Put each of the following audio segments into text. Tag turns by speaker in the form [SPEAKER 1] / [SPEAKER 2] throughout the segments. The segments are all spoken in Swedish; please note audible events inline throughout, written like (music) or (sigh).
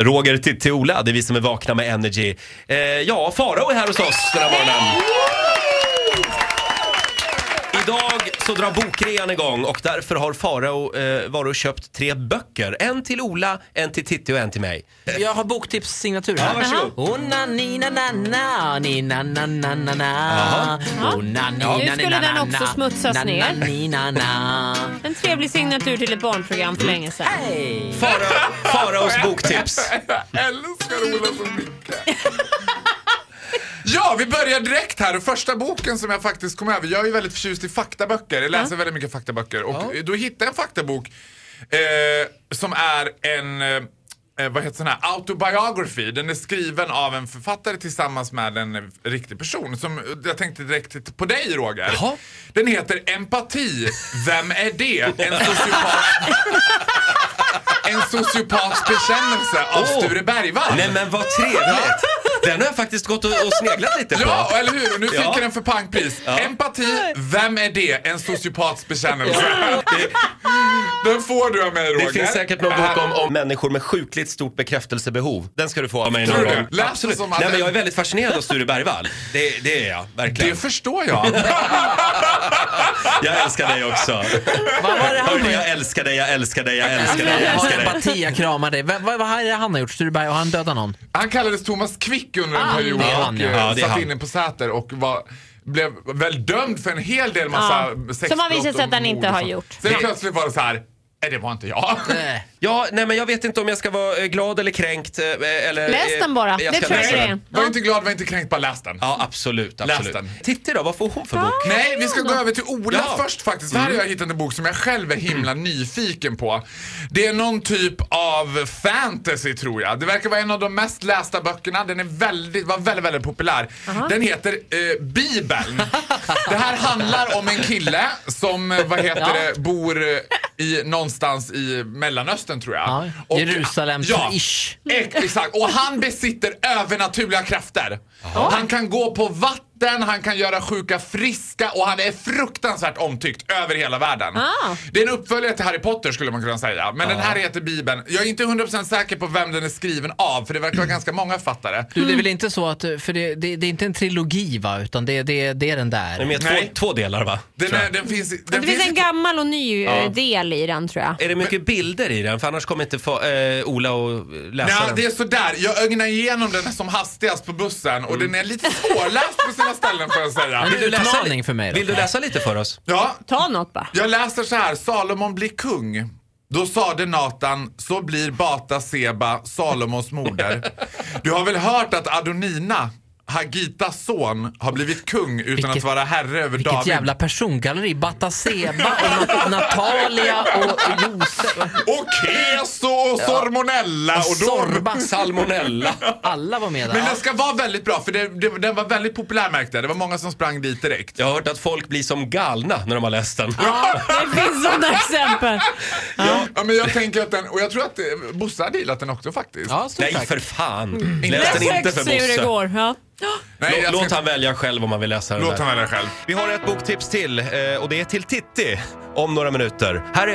[SPEAKER 1] Roger till, till Ola, det är vi som är vakna med Energy. Eh, ja, Farao är här hos oss den här morgonen. Idag så drar bokrean igång och därför har Farao eh, varit och köpt tre böcker. En till Ola, en till Titti och en till mig.
[SPEAKER 2] Jag har boktipssignatur här.
[SPEAKER 1] Ja, varsågod.
[SPEAKER 2] Oh, na, ni, na, na, na, ni, na, na, na, na, na. Oh, na, ni,
[SPEAKER 3] Ja.
[SPEAKER 2] na,
[SPEAKER 3] Nu
[SPEAKER 2] ni, na,
[SPEAKER 3] skulle den
[SPEAKER 2] na,
[SPEAKER 3] också
[SPEAKER 2] na.
[SPEAKER 3] smutsas
[SPEAKER 2] Na,
[SPEAKER 3] ner.
[SPEAKER 2] na, ni, na, na.
[SPEAKER 3] En trevlig signatur till ett barnprogram för länge sedan.
[SPEAKER 2] Hej!
[SPEAKER 1] Farao- Faraos boktips.
[SPEAKER 4] Jag älskar Ola så mycket. Ja, vi börjar direkt här. Första boken som jag faktiskt kom över. Jag är ju väldigt förtjust i faktaböcker. Jag läser väldigt mycket faktaböcker. Och då hittade jag en faktabok eh, som är en eh, vad heter sån här? Autobiography. Den är skriven av en författare tillsammans med en eh, riktig person. Som, jag tänkte direkt på dig Roger.
[SPEAKER 1] Jaha.
[SPEAKER 4] Den heter Empati. Vem är det? En sociopat. en sociopats bekännelse av
[SPEAKER 1] Åh.
[SPEAKER 4] Sture Bergvall.
[SPEAKER 1] Nej men vad trevligt! Den har jag faktiskt gått och, och sneglat lite på.
[SPEAKER 4] Ja, och eller hur? Och nu fick
[SPEAKER 1] Ja.
[SPEAKER 4] jag den för pangpris. Empati, vem är det? En sociopats bekännelse. den får du av mig Roger.
[SPEAKER 1] Det finns säkert någon bok om, om människor med sjukligt stort bekräftelsebehov. Den ska du få av mig någon
[SPEAKER 4] Tror du?
[SPEAKER 1] gång.
[SPEAKER 4] Lät det
[SPEAKER 1] Absolut.
[SPEAKER 4] som att
[SPEAKER 1] Nej,
[SPEAKER 4] den-
[SPEAKER 1] men jag är väldigt fascinerad av Sture Bergvall. Det, det är jag,
[SPEAKER 4] Det
[SPEAKER 1] verkligen.
[SPEAKER 4] förstår jag.
[SPEAKER 1] Jag älskar dig också.
[SPEAKER 2] Vad var Alltså, det han
[SPEAKER 1] Hörde,
[SPEAKER 2] har
[SPEAKER 1] jag
[SPEAKER 2] gjort?
[SPEAKER 1] älskar dig, jag älskar dig, jag älskar dig,
[SPEAKER 2] Jag
[SPEAKER 1] jag
[SPEAKER 2] har
[SPEAKER 1] älskar dig.
[SPEAKER 2] empati, jag kramar dig. Vad, vad, vad är det han har gjort? Sturberg, har han dödat någon?
[SPEAKER 4] Han kallades Thomas Quick under en
[SPEAKER 2] Ah,
[SPEAKER 4] period
[SPEAKER 2] det är
[SPEAKER 4] och
[SPEAKER 2] han, ja.
[SPEAKER 4] eh,
[SPEAKER 1] Ja, det är
[SPEAKER 4] satt
[SPEAKER 1] han.
[SPEAKER 4] inne på Säter och var blev väl dömd för en hel del massa
[SPEAKER 3] Ja.
[SPEAKER 4] sexbrott
[SPEAKER 3] Som har visat sig
[SPEAKER 4] och
[SPEAKER 3] att han inte
[SPEAKER 4] mord och
[SPEAKER 3] har
[SPEAKER 4] sånt.
[SPEAKER 3] gjort.
[SPEAKER 4] Sen
[SPEAKER 3] Ja.
[SPEAKER 4] plötsligt var det så här, nej det var inte jag.
[SPEAKER 1] Äh.
[SPEAKER 2] Eh,
[SPEAKER 1] Ja, nej men jag vet inte om jag ska vara eh, glad eller kränkt. eh, Eller,
[SPEAKER 3] Läs
[SPEAKER 1] eh,
[SPEAKER 3] den bara.
[SPEAKER 1] jag
[SPEAKER 3] Det
[SPEAKER 1] ska
[SPEAKER 3] tror jag
[SPEAKER 1] läsa
[SPEAKER 3] det är.
[SPEAKER 1] den.
[SPEAKER 4] (laughs) Var inte glad, var inte kränkt, bara läs den.
[SPEAKER 1] Ja, absolut,
[SPEAKER 4] Läs
[SPEAKER 1] absolut.
[SPEAKER 4] den.
[SPEAKER 1] Titti då, vad får hon för bok?
[SPEAKER 4] Nej, vi ska gå över till Ola
[SPEAKER 1] Ja.
[SPEAKER 4] först faktiskt. Här har jag hittat en bok som jag själv är himla
[SPEAKER 2] Mm.
[SPEAKER 4] nyfiken på. Det är någon typ av fantasy tror jag. Det verkar vara en av de mest lästa böckerna. Den är väldigt, var väldigt, väldigt populär. Den heter eh, Bibeln. det här handlar om en kille som, eh, vad heter
[SPEAKER 2] Ja.
[SPEAKER 4] det, bor eh, i, någonstans i Mellanöstern tror jag.
[SPEAKER 2] Ja,
[SPEAKER 4] Och-
[SPEAKER 2] Jerusalem-ish.
[SPEAKER 4] Ex- Exakt, och han besitter övernaturliga krafter. Han kan gå på vatten, han kan göra sjuka friska och han är fruktansvärt omtyckt över hela världen.
[SPEAKER 3] Ah.
[SPEAKER 4] Det är en uppföljare till Harry Potter skulle man kunna säga. Men den här heter Bibeln. Jag är inte 100% säker på vem den är skriven av för det verkar vara
[SPEAKER 3] Mm.
[SPEAKER 4] ganska många författare.
[SPEAKER 2] Du, det är väl inte så att, för det, det, det är inte en trilogi va, utan det, det, det är den
[SPEAKER 1] Är
[SPEAKER 2] där.
[SPEAKER 1] det
[SPEAKER 4] Nej.
[SPEAKER 1] med två, två delar va?
[SPEAKER 4] Den,
[SPEAKER 1] Tror jag.
[SPEAKER 4] är, den finns, i- den
[SPEAKER 3] Det finns
[SPEAKER 4] i-
[SPEAKER 3] en gammal och ny eh, del i den tror jag.
[SPEAKER 1] Är det mycket bilder i den? För annars kommer inte få, eh, Ola och läsa
[SPEAKER 4] Ja,
[SPEAKER 3] Alltså.
[SPEAKER 1] den.
[SPEAKER 4] det är sådär. Jag ögnar igenom den som hastigast på bussen
[SPEAKER 3] Mm.
[SPEAKER 4] och den är lite svårläst på sina ställen får jag säga.
[SPEAKER 2] Men- Utmaning
[SPEAKER 1] li-
[SPEAKER 2] för mig då.
[SPEAKER 1] Vill du läsa lite för oss?
[SPEAKER 4] Ja,
[SPEAKER 3] Ta något bara.
[SPEAKER 4] Jag läser så här, Salomon blir kung. Då sade Natan, så blir Bata Seba Salomos moder. Du har väl hört att Adonina, Hagitas son, har blivit kung utan
[SPEAKER 2] Vilket-
[SPEAKER 4] att vara herre över
[SPEAKER 2] Vilket
[SPEAKER 4] David.
[SPEAKER 2] jävla persongalleri. Bataseba och Nat- Natalia och Josef.
[SPEAKER 4] Och Keso och Sormonella och då...
[SPEAKER 2] Sorba,
[SPEAKER 1] Salmonella.
[SPEAKER 2] Alla var med där.
[SPEAKER 4] Men den ska vara väldigt bra för det, det, den var väldigt populär märkte jag. Det var många som sprang dit direkt.
[SPEAKER 1] Jag har hört att folk blir som galna när de har läst den.
[SPEAKER 3] Det
[SPEAKER 1] (laughs)
[SPEAKER 3] finns sådana exempel.
[SPEAKER 4] Ja, men jag tänker att den, och jag tror att eh, Bosse hade gillat den också faktiskt.
[SPEAKER 2] Ja, stort
[SPEAKER 1] Nej
[SPEAKER 2] tack.
[SPEAKER 1] för fan!
[SPEAKER 3] Det
[SPEAKER 1] Läs den
[SPEAKER 3] är
[SPEAKER 1] inte
[SPEAKER 3] sex
[SPEAKER 1] för
[SPEAKER 3] hur det
[SPEAKER 1] Bosse.
[SPEAKER 3] går. Ja.
[SPEAKER 4] Nej,
[SPEAKER 1] Lå-
[SPEAKER 4] jag
[SPEAKER 1] Låt
[SPEAKER 4] ska,
[SPEAKER 1] han välja själv om han vill läsa den
[SPEAKER 4] låt han
[SPEAKER 1] där.
[SPEAKER 4] välja själv.
[SPEAKER 1] Vi har ett boktips till eh, och det är till Titti om några minuter. Här är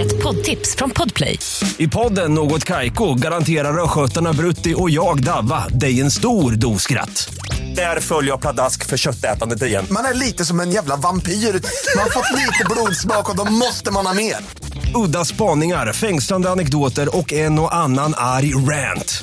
[SPEAKER 5] Ett poddtips från Podplay.
[SPEAKER 6] I podden Något Kaiko garanterar östgötarna Brutti och jag, Davva, dig en stor dos skratt. Där följer jag pladask för köttätandet igen.
[SPEAKER 7] Man är lite som en jävla vampyr. Man har fått lite blodsmak och då måste man ha mer.
[SPEAKER 6] Udda spaningar, fängslande anekdoter och en och annan arg rant.